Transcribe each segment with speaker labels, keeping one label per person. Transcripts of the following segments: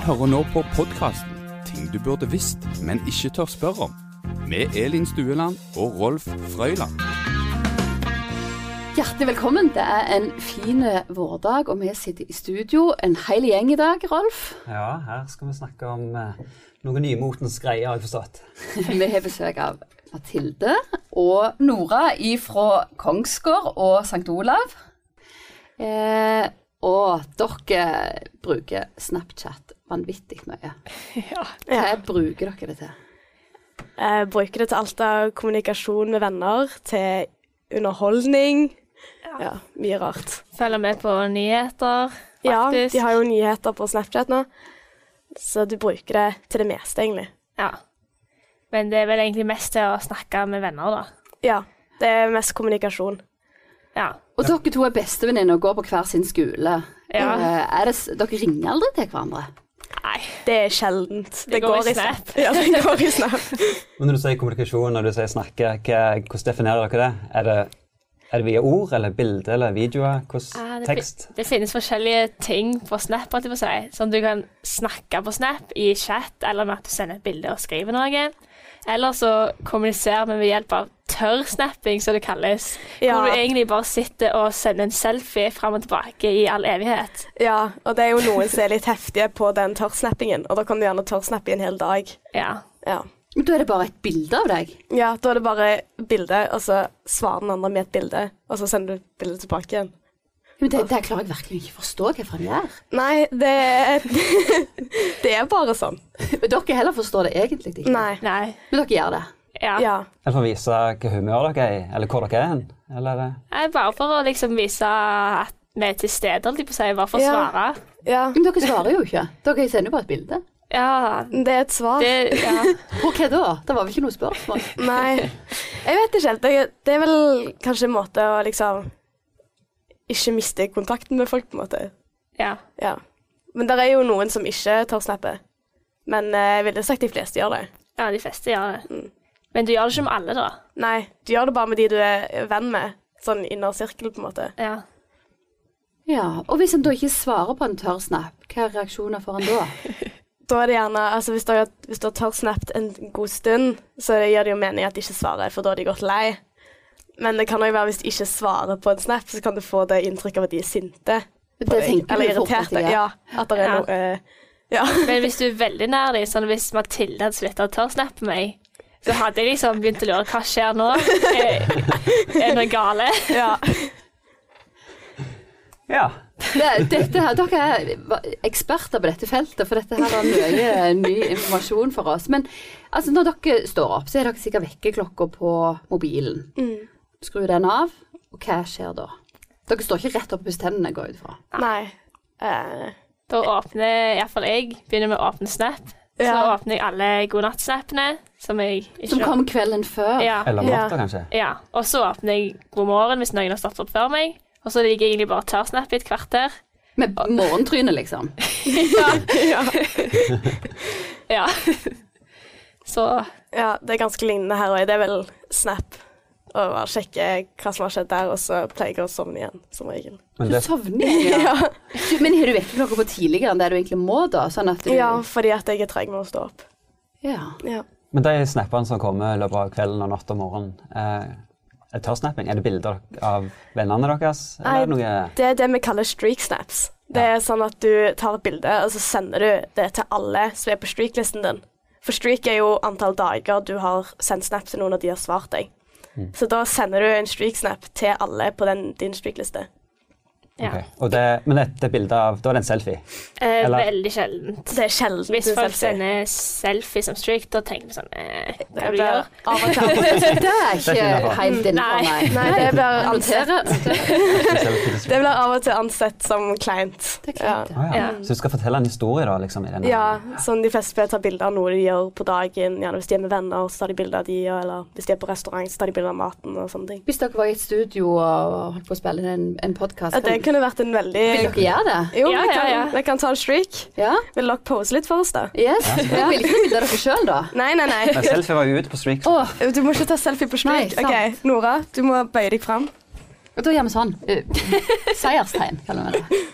Speaker 1: hører nå på podkasten 'Ting du burde visst, men ikke tør spørre om' med Elin Stueland og Rolf Frøyland.
Speaker 2: Hjertelig velkommen. Det er en fin eh, vårdag, og vi sitter i studio. En hel gjeng i dag, Rolf.
Speaker 3: Ja, her skal vi snakke om eh, noe nymotens greier, har jeg forstått.
Speaker 2: Vi har besøk av Mathilde og Nora ifra Kongsgård og St. Olav. Eh, og dere bruker Snapchat vanvittig mye.
Speaker 4: Ja.
Speaker 2: Hva bruker dere det til?
Speaker 4: Jeg Eh, bruker det til alt av kommunikasjon med venner, til underholdning. Ja, mye rart.
Speaker 5: Følger med på nyheter, faktisk.
Speaker 4: Ja, de har jo nyheter på Snapchat nå, så du bruker det til det meste, egentlig.
Speaker 5: Ja. Men det er vel egentlig mest til å snakke med venner, da.
Speaker 4: Ja, det er mest kommunikasjon.
Speaker 5: Ja.
Speaker 2: Og dere to er bestevenninner og går på hver sin skole.
Speaker 5: Ja.
Speaker 2: Eh, er det, s- dere ringer aldri til hverandre?
Speaker 5: Nei.
Speaker 4: Det er sjeldent.
Speaker 5: Det går i Snap.
Speaker 4: Ja, det går i Snap.
Speaker 3: Men når du sier kommunikasjon og du sier snakke, hva, hvordan definerer dere det? Er det, er det via ord eller bilde eller videoer?
Speaker 5: Ah,
Speaker 3: Hvordan
Speaker 5: det,
Speaker 3: tekst?
Speaker 5: fin- det finnes forskjellige ting på Snap. holdt jeg på å si. Sånn du kan snakke på Snap i chat, eller med at du sender et bilde og skriver noe. Eller så kommuniserer vi ved hjelp av tørrsnapping, som det kalles.
Speaker 4: Ja.
Speaker 5: Hvor du egentlig bare sitter og sender en selfie fram og tilbake i all evighet.
Speaker 4: Ja, og det er jo noen som er litt heftige på den tørrsnappingen, og da kan du gjerne tørrsnappe i en hel dag.
Speaker 5: Ja.
Speaker 4: Ja.
Speaker 2: Men Da er det bare et bilde av deg.
Speaker 4: ja, da er det bare bilde, og så svarer den andre med et bilde, og så sender du bildet tilbake igjen.
Speaker 2: Men det, det klarer jeg virkelig ikke å forstå hva for en gjør.
Speaker 4: Nei, det er, det er bare sånn.
Speaker 2: Men dere heller forstår det egentlig ikke.
Speaker 4: Nei.
Speaker 5: Nei.
Speaker 2: Men dere gjør det.
Speaker 4: Ja.
Speaker 3: Er det for å vise hva humør dere er i, eller hvor dere er hen? Eller eh, er det
Speaker 5: Nei, bare for å liksom vise at vi er til stede, holdt jeg på å si. Bare for å
Speaker 4: Ja.
Speaker 5: svare.
Speaker 4: ja.
Speaker 2: Men dere svarer jo ikke. Dere sender jo bare et bilde.
Speaker 5: Ja.
Speaker 4: Det er et svar.
Speaker 5: Det, ja.
Speaker 2: Og hva da? Det var vel ikke noe spørsmål?
Speaker 4: Nei. Jeg vet ikke helt. Det, det er vel kanskje en måte å liksom ikke miste kontakten med folk, på en måte.
Speaker 5: ja.
Speaker 4: Ja. Men det er jo noen som ikke tør snappe. Men eh, jeg ville sagt de fleste gjør det.
Speaker 5: ja, de fleste gjør det. Men du gjør det ikke med alle, da.
Speaker 4: Nei, du gjør det bare med de du er venn med. Sånn innersirkel, på en måte.
Speaker 5: Ja.
Speaker 2: Ja, Og hvis en da ikke svarer på en tørr snap, hva er reaksjoner får en da?
Speaker 4: Da er det gjerne, altså Hvis du har, hvis du har tørrsnappet en god stund, så gjør det jo mening at de ikke svarer, for da er de gått lei. Men det kan òg være hvis de ikke svarer på en snap, så kan du få det inntrykk av at de er sinte.
Speaker 2: Det
Speaker 4: på deg,
Speaker 2: tenker
Speaker 4: Eller
Speaker 2: du fort at de
Speaker 4: irriterte.
Speaker 2: er.
Speaker 4: Ja, at det er
Speaker 5: Ja.
Speaker 4: noe eh, Ja.
Speaker 5: Men hvis du er veldig nær dem, sånn hvis Mathilde hadde slutta å tørrsnappe meg, så hadde jeg liksom begynt å lure hva skjer nå? Er, er det noe gale?
Speaker 4: ja.
Speaker 3: Ja.
Speaker 2: Det, dette her, dere er va- eksperter på dette feltet, for dette her er mye ny informasjon for oss. Men altså, når dere står opp, så er dere sikkert vekkerklokka på mobilen.
Speaker 4: Mm.
Speaker 2: Skru den av, og hva skjer da? Dere står ikke rett opp og pusser tennene, går jeg ut fra.
Speaker 4: Nei. Eh,
Speaker 5: Da åpner iallfall jeg begynner med å åpne Snap. Så
Speaker 4: Ja.
Speaker 5: åpner jeg alle godnattsnappene, som jeg ikke
Speaker 2: Som kom kvelden før.
Speaker 5: Ja.
Speaker 3: Eller om
Speaker 4: Ja.
Speaker 3: natta, kanskje?
Speaker 5: Ja, og så åpner jeg god morgen hvis noen har stått opp før meg. Og så ligger jeg egentlig bare og tørrsnapper i et kvarter.
Speaker 2: Med morgentrynet, liksom.
Speaker 4: ja.
Speaker 5: Ja. Så
Speaker 4: ja, det er ganske lignende her òg. Det er vel snap. Og bare sjekke hva som har skjedd der, og så pleier jeg å sovne igjen, som regel.
Speaker 3: Men
Speaker 2: Du
Speaker 3: det,
Speaker 2: sovner jo. Ja. Du, men har du vekkerklokka på tidligere enn det du egentlig må, da? Sånn at du
Speaker 4: Ja, fordi at jeg er treg med å stå opp.
Speaker 2: Ja.
Speaker 4: Ja.
Speaker 3: men de snappene som kommer i løpet av kvelden og natt og morgen, eh, er tørrsnapping? Er det bilder av vennene deres? Eller er det noe
Speaker 4: det er det vi kaller streak snaps. Det er sånn at du tar et bilde, og så sender du det til alle som er på streak-listen din. For streak er jo antall dager du har sendt snap til noen, og de har svart deg. Så da sender du en streak-snap til alle på den, din streak-liste.
Speaker 5: ja.
Speaker 3: Ok. Og det, Men det, det er bilde av Da er det en selfie?
Speaker 5: Eh,
Speaker 3: Eller-
Speaker 5: Veldig sjeldent.
Speaker 4: Det er sjelden.
Speaker 5: Hvis
Speaker 4: en
Speaker 5: folk
Speaker 4: selfie.
Speaker 5: sender selfie som streak, da tenker vi sånn eh, Hva
Speaker 4: Det
Speaker 5: vil du
Speaker 4: blir
Speaker 5: gjøre?
Speaker 4: av og til.
Speaker 2: Det er
Speaker 3: er
Speaker 2: ikke
Speaker 3: ikke innenfor.
Speaker 2: helt innenfor
Speaker 5: Nei.
Speaker 2: meg.
Speaker 4: Nei, det blir ansett,
Speaker 2: Noterer.
Speaker 3: En selfie til
Speaker 4: det blir av og til ansett som kleint.
Speaker 2: Det er klart.
Speaker 3: Ah, ja.
Speaker 5: Ja.
Speaker 3: Så du skal fortelle en historie, da? liksom i denne.
Speaker 4: Ja, sånn de fleste pleier å ta bilder av noe de gjør på dagen. Gjerne hvis de er med venner, så tar de bilder av de, og- eller hvis de er på restaurant, så tar de bilder av maten og sånne ting.
Speaker 2: Hvis dere var i et studio og holdt på å spille inn en, en podkast,
Speaker 4: Ja, det
Speaker 2: vil
Speaker 4: kunne vært en veldig
Speaker 2: dere gjøre det?
Speaker 4: Jo,
Speaker 5: Ja,
Speaker 4: vi, kan,
Speaker 5: ja, ja.
Speaker 4: vi kan ta en streak.
Speaker 2: Ja?
Speaker 4: Vil dere pose litt for oss, da?
Speaker 2: Yes. Dere vil ikke bilde av dere sjøl, da?
Speaker 4: Nei, nei, nei.
Speaker 3: Men selfie var jo ute på streak.
Speaker 2: Å,
Speaker 4: Du må ikke ta selfie på streak.
Speaker 2: Nei, sant.
Speaker 4: OK, Nora, du må bøye deg fram.
Speaker 2: og da gjør vi sånn. Eh, Seierstegn, kaller vi det.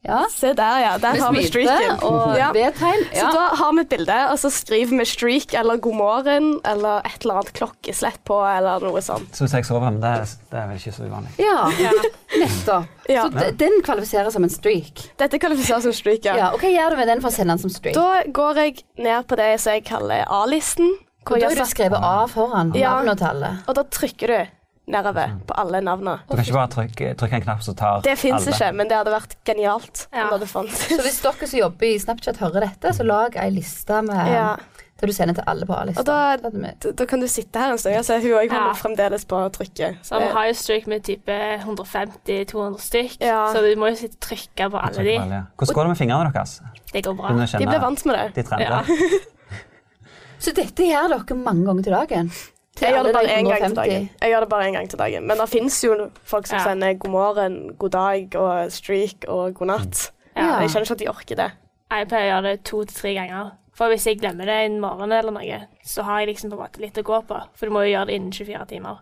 Speaker 2: Ja.
Speaker 4: Se der, ja. Der har vi
Speaker 2: Med smilte
Speaker 4: streaken.
Speaker 2: og
Speaker 4: Ja.
Speaker 2: vedtegn.
Speaker 4: Så
Speaker 2: Ja.
Speaker 4: da har vi et bilde, og så skriver vi streak eller god morgen eller et eller annet klokkeslett på eller noe sånt.
Speaker 3: Så hvis jeg sover, men det, det er vel ikke så uvanlig.
Speaker 2: ja, nettopp.
Speaker 4: Ja.
Speaker 2: Så d- den kvalifiserer som en streak.
Speaker 4: Dette kvalifiserer som streak, ja.
Speaker 2: Ja, og Hva gjør du med den for å sende den som streak?
Speaker 4: Da går jeg ned på det som jeg kaller A-listen. hvor
Speaker 2: Og da
Speaker 4: jeg
Speaker 2: har du
Speaker 4: har satt-
Speaker 2: skrevet A foran
Speaker 4: Ja.
Speaker 2: navnet og tallet.
Speaker 4: Og da trykker du nedover på alle navnene.
Speaker 3: Du kan ikke bare trykke, trykke en knapp som tar
Speaker 4: Det fins
Speaker 3: alle.
Speaker 4: ikke, men det hadde vært genialt.
Speaker 5: Ja.
Speaker 4: om det hadde fantes.
Speaker 2: Så hvis dere som jobber i Snapchat hører dette, så lag ei liste med
Speaker 4: Ja.
Speaker 2: der du sender til alle på A-lista.
Speaker 4: Og da-
Speaker 2: Det hadde vi-
Speaker 4: Da- Da kan du sitte her en stund. Altså, hun og jeg holder
Speaker 5: Ja.
Speaker 4: fremdeles på å trykke.
Speaker 5: Så vi har jo streak med type 150-200 stykk,
Speaker 4: Ja.
Speaker 5: så du må jo sitte og trykke på alle de.
Speaker 3: Trykke på alle, ja. Hvordan går det med fingrene deres?
Speaker 5: Det går bra.
Speaker 3: Begynner å
Speaker 4: De
Speaker 3: kjenne
Speaker 4: ble vant med det.
Speaker 3: de trender?
Speaker 5: Ja.
Speaker 2: Så dette gjør dere mange ganger til dagen? Til
Speaker 4: Jeg gjør det
Speaker 2: alle
Speaker 4: bare
Speaker 2: de
Speaker 4: én gang til
Speaker 2: 150.
Speaker 4: dagen. Jeg gjør det bare en gang til dagen. Men det fins jo folk som
Speaker 5: Ja.
Speaker 4: sender god morgen, god dag og streak og god natt.
Speaker 2: Ja.
Speaker 4: Jeg skjønner ikke at de orker det.
Speaker 5: Jeg pleier å gjøre det to til tre ganger. For hvis jeg glemmer det en morgen eller noe, så har jeg liksom på en måte litt å gå på. For du må jo gjøre det innen 24 timer.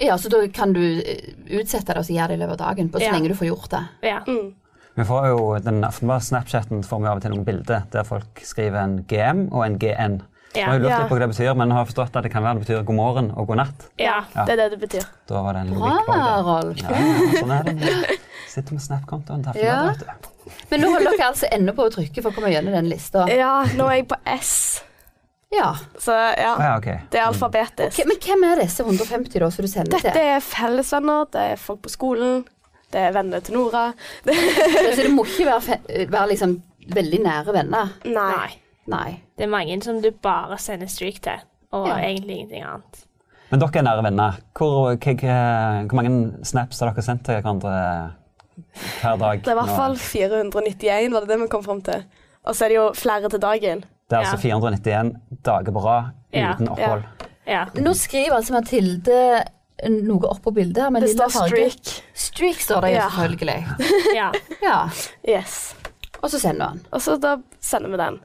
Speaker 2: Ja, så da kan du eh, utsette det og så gjøre det i løpet av dagen, på så
Speaker 5: Ja.
Speaker 2: lenge du får gjort det.
Speaker 5: Ja.
Speaker 4: Mm.
Speaker 3: Vi får jo den offentlige Snapchatten får vi av og til noen bilder der folk skriver en GM og en GN. Vi har
Speaker 5: Ja.
Speaker 3: jo lurt
Speaker 4: Ja.
Speaker 3: litt på hva det betyr, men har forstått at det kan være det betyr god morgen og god natt.
Speaker 5: ja.
Speaker 4: Det er det det betyr.
Speaker 3: Da var det en logikk bak
Speaker 2: Bra,
Speaker 3: det.
Speaker 2: Rolf.
Speaker 3: Ja, sånn er det. Sitter med Snap-kontoen. Derfor
Speaker 2: Ja.
Speaker 3: er det, vet du.
Speaker 2: Men nå holder dere altså ennå på å trykke for å komme gjennom den lista.
Speaker 4: Ja, nå er jeg på S,
Speaker 2: Ja.
Speaker 4: så ja.
Speaker 3: Å ja, ok.
Speaker 4: Det er alfabetisk.
Speaker 2: Ok, men hvem er disse 150 da som du sender
Speaker 4: Dette
Speaker 2: til?
Speaker 4: er fellesvenner, det er folk på skolen, det er venner til Nora. Det,
Speaker 2: Så det må ikke være, fe- være liksom veldig nære venner.
Speaker 4: nei.
Speaker 5: Nei.
Speaker 2: Nei.
Speaker 5: Det er mange som du bare sender streak til, og
Speaker 2: Ja.
Speaker 5: egentlig ingenting annet.
Speaker 3: Men dere er nære venner. Hvor, hva- hva- hvor mange snaps har dere sendt til hverandre hver dag?
Speaker 4: Det er i
Speaker 3: nå?
Speaker 4: hvert fall 491, var det det vi kom fram til. Og så er det jo flere til dagen.
Speaker 3: Det er altså 491 dager på rad
Speaker 5: Ja,
Speaker 3: uten opphold.
Speaker 5: Ja.
Speaker 2: Nå skriver altså Mathilde noe oppå bildet her med
Speaker 4: Det
Speaker 2: lilla
Speaker 4: står
Speaker 2: farge.
Speaker 4: streak.
Speaker 2: Streak står det jo
Speaker 4: Ja.
Speaker 2: selvfølgelig.
Speaker 5: ja.
Speaker 2: Ja.
Speaker 4: Yes.
Speaker 2: Og så sender han.
Speaker 4: Og så da sender vi den.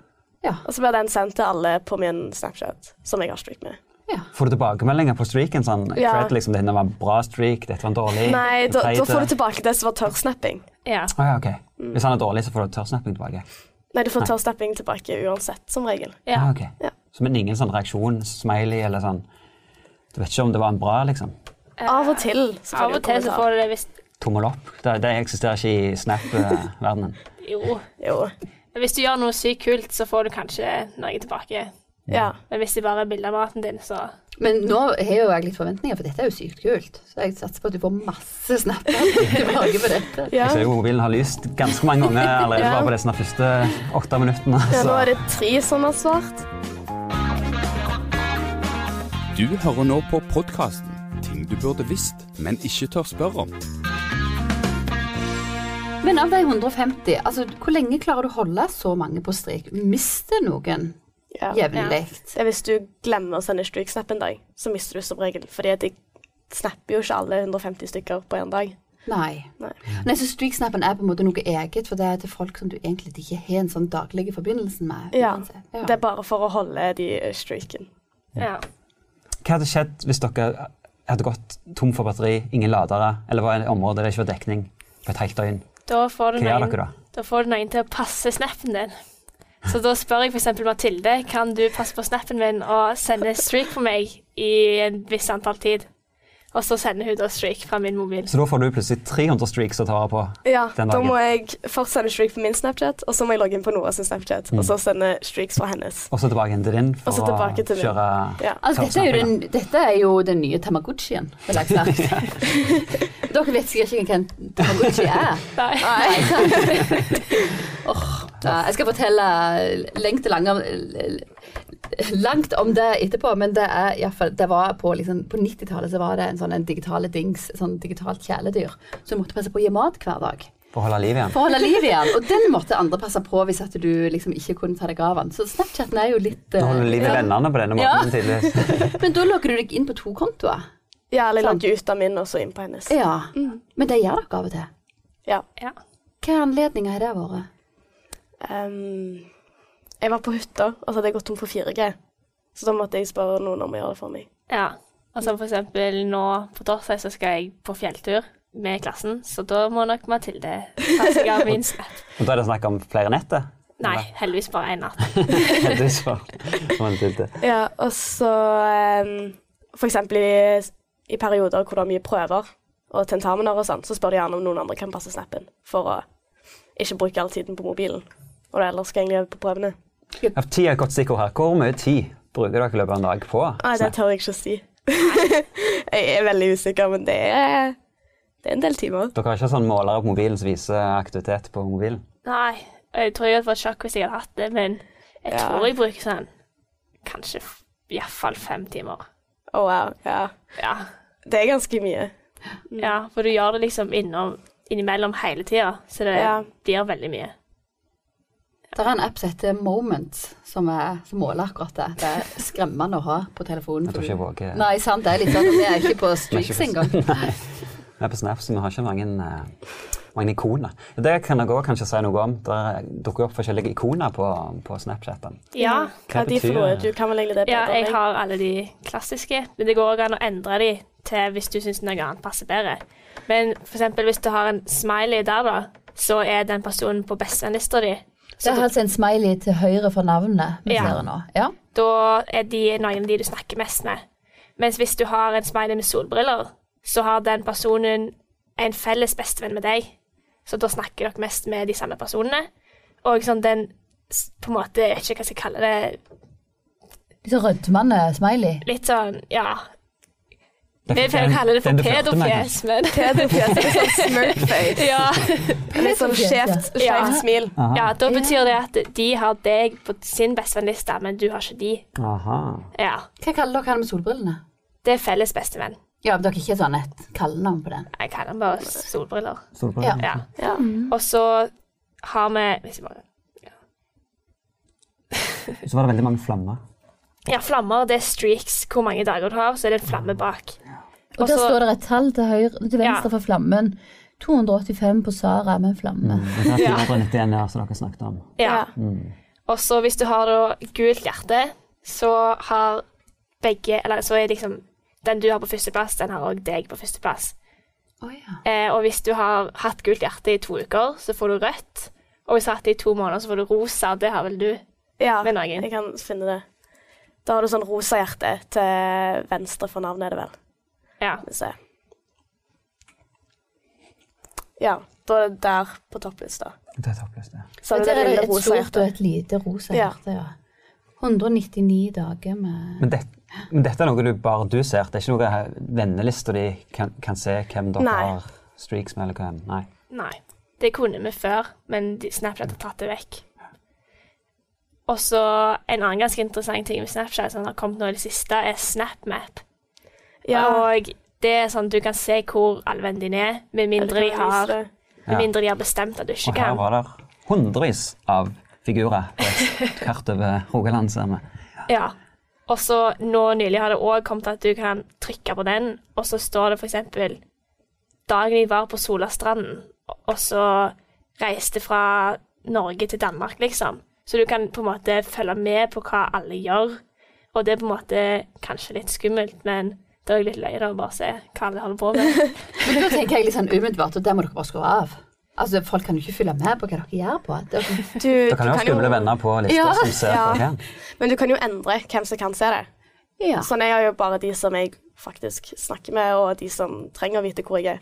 Speaker 2: Ja.
Speaker 4: Og så blir den sendt til alle på min Snapchat, som jeg har streak med.
Speaker 2: ja.
Speaker 3: Får du tilbakemeldinger på streaken? sånn,
Speaker 4: Ja.
Speaker 3: cred, liksom, Dette var en bra streak, dette var en dårlig
Speaker 4: Nei, da,
Speaker 3: teit,
Speaker 4: da får
Speaker 3: eh.
Speaker 4: du tilbake det som var tørrsnapping. Mm.
Speaker 5: ja.
Speaker 3: Å ja, ok. Hvis han er dårlig, så får du tørrsnapping tilbake.
Speaker 4: Nei, du får tørrsnapping tilbake uansett, som regel.
Speaker 5: Ja.
Speaker 3: Ah, ok.
Speaker 4: Ja.
Speaker 3: Så men ingen sånn reaksjon, smiley eller sånn Du vet ikke om det var en bra, liksom?
Speaker 4: Av og til. Så får
Speaker 5: Av og til så får du det hvis
Speaker 3: Tommel opp? Det, det eksisterer ikke i Snap-verdenen.
Speaker 5: Jo.
Speaker 4: Jo.
Speaker 5: Men Hvis du gjør noe sykt kult, så får du kanskje noe tilbake.
Speaker 4: Ja.
Speaker 5: Men hvis det bare er bilde av maten din, så
Speaker 2: Men nå har jo jeg litt forventninger, for dette er jo sykt kult. Så jeg satser på at du får masse snapper tilbake på dette.
Speaker 4: ja.
Speaker 3: Jeg ser jo mobilen har lyst ganske mange ganger allerede
Speaker 4: Ja.
Speaker 3: bare på disse første åtte minuttene.
Speaker 4: Ja, nå
Speaker 3: Så.
Speaker 4: er det tre som har svart.
Speaker 1: Du hører nå på podkasten Ting du burde visst, men ikke tør spørre om.
Speaker 2: Men av de 150, altså hvor lenge klarer du å holde så mange på strik? Mister noen
Speaker 4: Ja.
Speaker 2: jevnlig?
Speaker 4: Det er hvis du glemmer å sende streak-snap en dag, så mister du som regel. Fordi at jeg snapper jo ikke alle 150 stykker på en dag.
Speaker 2: Nei.
Speaker 4: Nei.
Speaker 2: Nei, så Streaksnappen er på en måte noe eget, for det er til folk som du egentlig ikke har en sånn daglig forbindelse med.
Speaker 4: Ja.
Speaker 2: uansett.
Speaker 4: Det er bare for å holde de streaken.
Speaker 5: ja.
Speaker 3: Hva hadde skjedd hvis dere hadde gått tom for batteri, ingen ladere, eller var i et område der det ikke var dekning på et helt døgn?
Speaker 5: Da får du
Speaker 3: Hva gjør
Speaker 5: noen
Speaker 3: dere da?
Speaker 5: Da får du noen til å passe snappen din. Så da spør jeg f.eks. Mathilde kan du passe på snappen min og sende streak på meg i en viss antall tid. Og så sender hun da streak fra min mobil.
Speaker 3: Så da får du plutselig 300 streaks å ta vare på.
Speaker 4: Ja,
Speaker 3: Den
Speaker 4: da
Speaker 3: dagen.
Speaker 4: må jeg først sende streak på min Snapchat, og så må jeg logge inn på Noras Snapchat, og
Speaker 3: Mm.
Speaker 4: så sende streaks fra hennes.
Speaker 3: Og så tilbake igjen til din
Speaker 4: Og
Speaker 3: for
Speaker 4: så
Speaker 3: å
Speaker 4: tilbake til min.
Speaker 3: kjøre
Speaker 4: Ja.
Speaker 2: Altså, dette, er jo den, dette er jo den nye Tamagotchien, vil jeg si. Dere vet sikkert ikke hvem Tamagotchi er.
Speaker 5: Nei.
Speaker 2: Nei. Åh, ja, jeg skal fortelle lengt og lang om, langt om det etterpå, men det er i hvert fall- det var på, liksom, på 90-tallet så var det en sånn en digitale dings, sånn digitalt kjæledyr, som måtte passe på å gi mat hver dag.
Speaker 3: For å holde liv igjen.
Speaker 2: For å holde liv i den. Og den måtte andre passe på hvis at du liksom ikke kunne ta deg av den. Så Snapchaten er jo litt
Speaker 3: Du holder
Speaker 2: eh,
Speaker 3: liv i
Speaker 2: ja.
Speaker 3: vennene på denne
Speaker 2: Ja.
Speaker 3: måten. tydeligvis.
Speaker 2: Men da logger du deg inn på to kontoer.
Speaker 4: Ja, eller jeg
Speaker 2: Sant.
Speaker 4: logger ut av min, og så inn på hennes.
Speaker 2: Ja.
Speaker 6: Mm.
Speaker 2: Men det gjør dere av og til.
Speaker 4: Ja.
Speaker 5: Ja.
Speaker 2: Hvilke anledninger har det vært?
Speaker 4: Ehm, jeg var på hytta, og så hadde jeg gått tom for 4G. Så da måtte jeg spørre noen om å gjøre det for meg.
Speaker 5: ja. Og så for eksempel nå på torsdag så skal jeg på fjelltur. med klassen, så da må nok Mathilde ta seg av min snap.
Speaker 3: Og da er det snakk om flere netter?
Speaker 5: Nei, heldigvis bare én natt.
Speaker 3: Heldigvis for Mathilde.
Speaker 4: Ja, og så eh, For eksempel i, i perioder hvor det er mye prøver og tentamener og sånn, så spør de gjerne om noen andre kan passe snappen for å ikke bruke all tiden på mobilen. Og det ellers skal egentlig øve på prøvene.
Speaker 3: Ja, Tid er et godt stikkord her. Hvor mye tid bruker dere i løpet av en dag på?
Speaker 4: Nei, det
Speaker 3: Snap?
Speaker 4: tør jeg ikke å si. jeg er veldig usikker, men det er, det er en del timer.
Speaker 3: Dere har ikke sånn målere på mobilen som viser aktivitet på mobilen?
Speaker 5: Nei, og jeg tror jeg hadde fått sjokk hvis jeg hadde hatt det, men jeg
Speaker 4: Ja.
Speaker 5: tror jeg bruker sånn kanskje f- i hvert fall fem timer.
Speaker 4: Å, wow. Ja.
Speaker 5: Ja.
Speaker 4: Det er ganske mye.
Speaker 5: Mm. ja, for du gjør det liksom innom, innimellom hele tida, så det
Speaker 4: Ja.
Speaker 5: blir veldig mye.
Speaker 2: Det er en app som heter Moments, som, er, som måler akkurat det. Det er skremmende å ha på telefonen.
Speaker 3: Jeg tror ikke jeg våger
Speaker 2: Nei, sant, det er litt sånn. Vi er ikke på streaks
Speaker 3: Vi er ikke
Speaker 2: engang.
Speaker 3: Vi er på Snap, så vi har ikke mange, eh, mange ikoner. Det kan dere også kanskje si noe om. Det dukker opp forskjellige ikoner på, på Snapchaten.
Speaker 5: Ja.
Speaker 3: Hva
Speaker 4: Hva de
Speaker 3: betyr
Speaker 4: for noe? Du
Speaker 3: det?
Speaker 4: kan vel egentlig det
Speaker 5: Mm. ja,
Speaker 4: bedre
Speaker 5: jeg har alle de klassiske, men det går òg an å endre de til hvis du syns noe annet passer bedre. Men for eksempel hvis du har en smiley der, da, så er den personen på bestevenn-lista di.
Speaker 6: Det er altså en smiley til høyre for navnet vi
Speaker 5: Ja.
Speaker 6: ser nå. Ja.
Speaker 5: Da er de noen av de du snakker mest med. Mens hvis du har en smiley med solbriller, så har den personen en felles bestevenn med deg. Så da snakker dere mest med de samme personene. Og sånn den s- på en måte, jeg vet ikke hva jeg skal kalle det,
Speaker 6: Litt sånn rødmende smiley.
Speaker 5: litt sånn, ja
Speaker 3: Den-
Speaker 5: Jeg pleier å kalle det for
Speaker 3: den du flørter med,
Speaker 5: pedofjes, men
Speaker 4: Pedofjes, sånn smirkface.
Speaker 5: ja.
Speaker 4: Litt sånn skjevt, skjevt
Speaker 5: Ja.
Speaker 4: smil.
Speaker 5: ja, da betyr det at de har deg på sin bestevennliste, men du har ikke de.
Speaker 3: Aha.
Speaker 5: Ja,
Speaker 2: Hva kaller dere han med solbrillene?
Speaker 5: Det er felles bestevenn.
Speaker 2: Ja, men dere er ikke sånn et kallenavn på den.
Speaker 5: Jeg kaller den bare solbriller.
Speaker 3: Solbriller.
Speaker 2: Ja.
Speaker 5: Ja.
Speaker 4: Ja.
Speaker 5: Og så har vi hvis jeg bare-
Speaker 3: Så var det veldig mange flammer.
Speaker 5: Ja, flammer det er streaks. Hvor mange dager du har, så er det en flamme bak.
Speaker 6: Og
Speaker 5: Og
Speaker 6: der
Speaker 5: så-
Speaker 6: står det et tall til, høyre, til venstre for flammen. 285 på Sara med en flamme.
Speaker 3: Det er 491 ja, som dere snakket om.
Speaker 5: Ja.
Speaker 4: Ja.
Speaker 5: Og så hvis du har da gult hjerte, så har begge Eller så er liksom den du har på førsteplass, den har òg deg på førsteplass.
Speaker 2: Å ja.
Speaker 5: Eh, og hvis du har hatt gult hjerte i to uker, så får du rødt. Og hvis du har hatt det i to måneder, så får du rosa. Det har vel du.
Speaker 4: Ja,
Speaker 5: Med noen.
Speaker 4: jeg kan finne det. Da har du sånn rosa hjerte til venstre for navnet, er det vel.
Speaker 5: Ja.
Speaker 4: Skal vi se. Ja, da er det der på topplista.
Speaker 3: Det er toppløst, ja.
Speaker 4: Så har du
Speaker 6: Der
Speaker 4: det
Speaker 6: er det
Speaker 4: lille
Speaker 6: et
Speaker 4: rosa
Speaker 6: stort og
Speaker 4: hjertet.
Speaker 6: et lite rosa
Speaker 4: Ja.
Speaker 6: hjerte. Ja. 199 dager med
Speaker 3: Men, det, men dette er noe du bare du ser? Det er ikke noe her- vennelista di kan, kan se hvem dere
Speaker 4: Nei.
Speaker 3: har streaks med? eller hvem? Nei.
Speaker 5: Nei. Det kunne vi før, men de- Snapchat har tatt det vekk. Og så en annen ganske interessant ting med Snapchat som har kommet nå i det siste, er SnapMap.
Speaker 4: Ja,
Speaker 5: Og det er sånn du kan se hvor alle vennene dine er, med mindre, de
Speaker 4: eller kan vise
Speaker 5: har,
Speaker 4: det.
Speaker 5: med mindre de har bestemt at du ikke
Speaker 3: Og her
Speaker 5: kan.
Speaker 3: var det hundrevis av figurer på et kart over Rogaland, ser vi.
Speaker 5: Ja. Og så nå nylig har det òg kommet at du kan trykke på den, og så står det f.eks. dagen vi var på Solastranden, og så reiste fra Norge til Danmark, liksom. Så du kan på en måte følge med på hva alle gjør. Og det er på en måte kanskje litt skummelt, men det er òg litt løye da å bare se hva alle holder på med.
Speaker 2: Men da tenker jeg litt sånn umiddelbart, og det må dere bare skru av. Altså, folk kan jo ikke følge med på hva dere gjør på. Dere,
Speaker 4: Du, du
Speaker 3: Dere kan jo ha skumle venner på lista
Speaker 2: Ja,
Speaker 3: som ser
Speaker 4: ja.
Speaker 3: på hvem.
Speaker 4: Men du kan jo endre hvem som kan se det.
Speaker 2: ja.
Speaker 4: Sånn jeg har jo bare de som jeg faktisk snakker med, og de som trenger å vite hvor jeg er.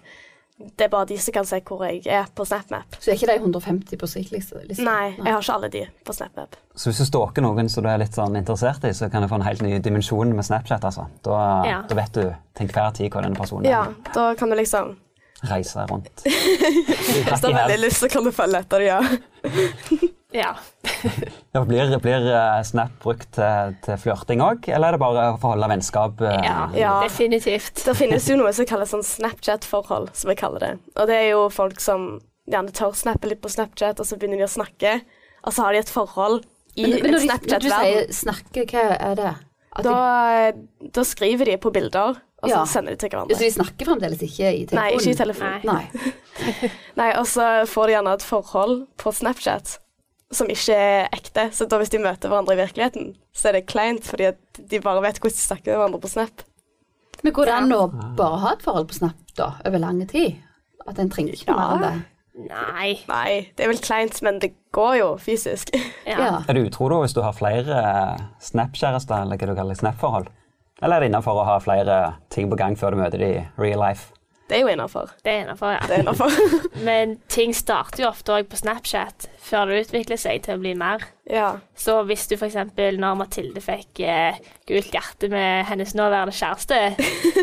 Speaker 4: Det er bare de som kan se hvor jeg er på SnapMap.
Speaker 2: Så er ikke de 150 på sikkerhetslista? liksom?
Speaker 4: Nei, jeg har ikke alle de på SnapMap.
Speaker 3: Så hvis du stalker noen som du er litt sånn interessert i, så kan du få en helt ny dimensjon med Snapchat. altså. Da,
Speaker 5: Ja.
Speaker 3: da vet du til enhver tid hvor denne personen
Speaker 4: Ja, da kan du liksom
Speaker 3: reiser rundt.
Speaker 4: Hvis du har veldig lyst, så kan du følge etter det, ja.
Speaker 5: Ja.
Speaker 3: Ja, blir, blir eh, Snap brukt til, til flørting òg, eller er det bare for å holde vennskap? eh,
Speaker 5: ja.
Speaker 4: Ja.
Speaker 5: Definitivt.
Speaker 4: Det finnes jo noe som kalles sånn Snapchat-forhold, som jeg kaller det. Og det er jo folk som gjerne tør snappe litt på Snapchat, og så begynner de å snakke, og så har de et forhold i
Speaker 2: Men, men når, de, når du
Speaker 4: Snapchat-verden.
Speaker 2: sier 'snakke', hva er det? At
Speaker 4: Da, eh, da skriver de på bilder, og så
Speaker 2: Ja.
Speaker 4: sender de til
Speaker 2: de, så
Speaker 4: hverandre.
Speaker 2: de snakker fremdeles ikke i telefonen?
Speaker 4: Nei, ikke i telefonen.
Speaker 5: Nei.
Speaker 2: Nei.
Speaker 4: Nei, og så får de gjerne et forhold på Snapchat som ikke er ekte. Så da hvis de møter hverandre i virkeligheten, så er det kleint, fordi at de bare vet hvordan de snakker med hverandre på Snap.
Speaker 2: Men går det an å bare ha et forhold på Snap da, over lang tid? At en trenger ikke noe av det.
Speaker 5: Nei.
Speaker 4: Nei, det er vel kleint, men det går jo fysisk.
Speaker 2: Ja.
Speaker 5: Ja.
Speaker 3: Er du utro da hvis du har flere eh, Snap-kjærester, eller hva du kaller det, Snap-forhold? Eller er det innenfor å ha flere ting på gang før du møter de i real life?
Speaker 4: Det er jo innafor.
Speaker 5: Det er innafor, ja.
Speaker 4: Det er innafor.
Speaker 5: Men ting starter jo ofte òg på Snapchat før det utvikler seg til å bli mer.
Speaker 4: ja.
Speaker 5: Så hvis du f.eks. når Mathilde fikk eh, gult hjerte med hennes nåværende kjæreste,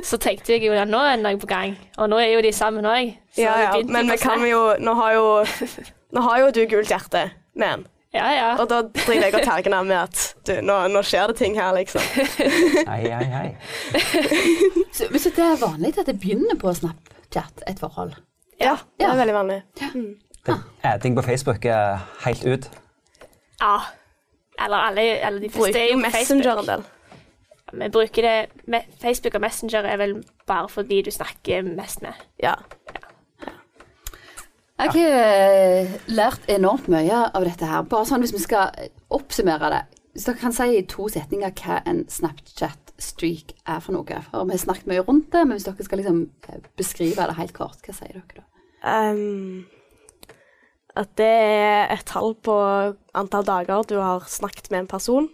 Speaker 5: så tenkte jeg jo at nå er noe på gang. Og nå er jo de sammen òg.
Speaker 4: ja, ja. Men vi kan jo Nå har jo, nå har jo du gult hjerte med en,
Speaker 5: Ja, ja.
Speaker 4: og da driver jeg og tagger den med at du, nå, nå skjer det ting her, liksom.
Speaker 3: Ei, ei, ei.
Speaker 2: Så, men så det er vanlig at det begynner på Snapchat, et forhold.
Speaker 4: Ja, det
Speaker 2: Ja.
Speaker 4: er veldig vanlig.
Speaker 3: Det er ting på Facebook eh, helt ut.
Speaker 5: ja. Eller alle, alle de fleste
Speaker 4: Bruker
Speaker 5: er
Speaker 4: jo
Speaker 5: jo på
Speaker 4: Messenger
Speaker 5: Facebook.
Speaker 4: en del.
Speaker 5: Vi bruker det me- Facebook og Messenger er vel bare for de du snakker mest med.
Speaker 4: Ja.
Speaker 2: Jeg har eh, lært enormt mye av dette her. Bare sånn hvis vi skal oppsummere det. Hvis dere kan si i to setninger hva en Snapchat-streak er for noe. For vi har snakket mye rundt det, men hvis dere skal liksom eh, beskrive det helt kort, hva sier dere da?
Speaker 4: Ehm, at det er et tall på antall dager du har snakket med en person.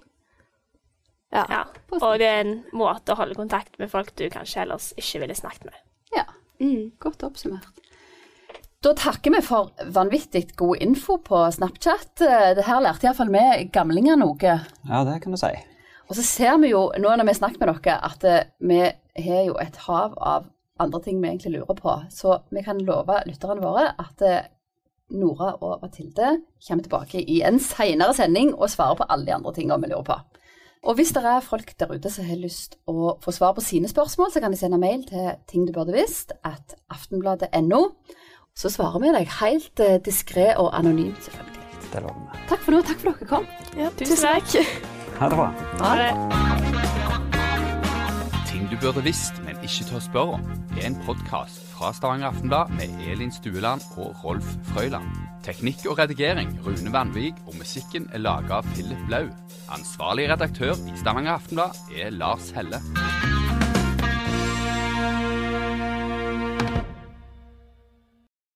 Speaker 4: Ja.
Speaker 5: Ja. Og det er en måte å holde kontakt med folk du kanskje ellers ikke ville snakket med.
Speaker 2: Ja, godt oppsummert. Da takker vi for vanvittig god info på Snapchat. Eh, Det her lærte iallfall vi gamlinger noe.
Speaker 3: Ja, det kan du si.
Speaker 2: Og så ser vi jo nå når vi snakker med dere, at eh, vi har jo et hav av andre ting vi egentlig lurer på. Så vi kan love lytterne våre at eh, Nora og Mathilde kommer tilbake i en senere sending og svarer på alle de andre tingene vi lurer på. Og hvis det er folk der ute som har lyst å få svar på sine spørsmål, så kan de sende mail til ting du burde visst at aftenbladet.no. Så svarer vi deg helt eh, diskré og anonymt, selvfølgelig.
Speaker 3: Det lover vi.
Speaker 2: Takk for nå. Takk for dere kom.
Speaker 4: Ja,
Speaker 5: Tusen takk.
Speaker 3: Ha det bra.
Speaker 5: Ha det.
Speaker 1: Ting du burde visst, men ikke tør spørre om, er en podkast fra Stavanger Aftenblad med Elin Stueland og Rolf Frøyland. Teknikk og redigering Rune Vanvik, og musikken er laga av Philip Blau. Ansvarlig redaktør i Stavanger Aftenblad er Lars Helle.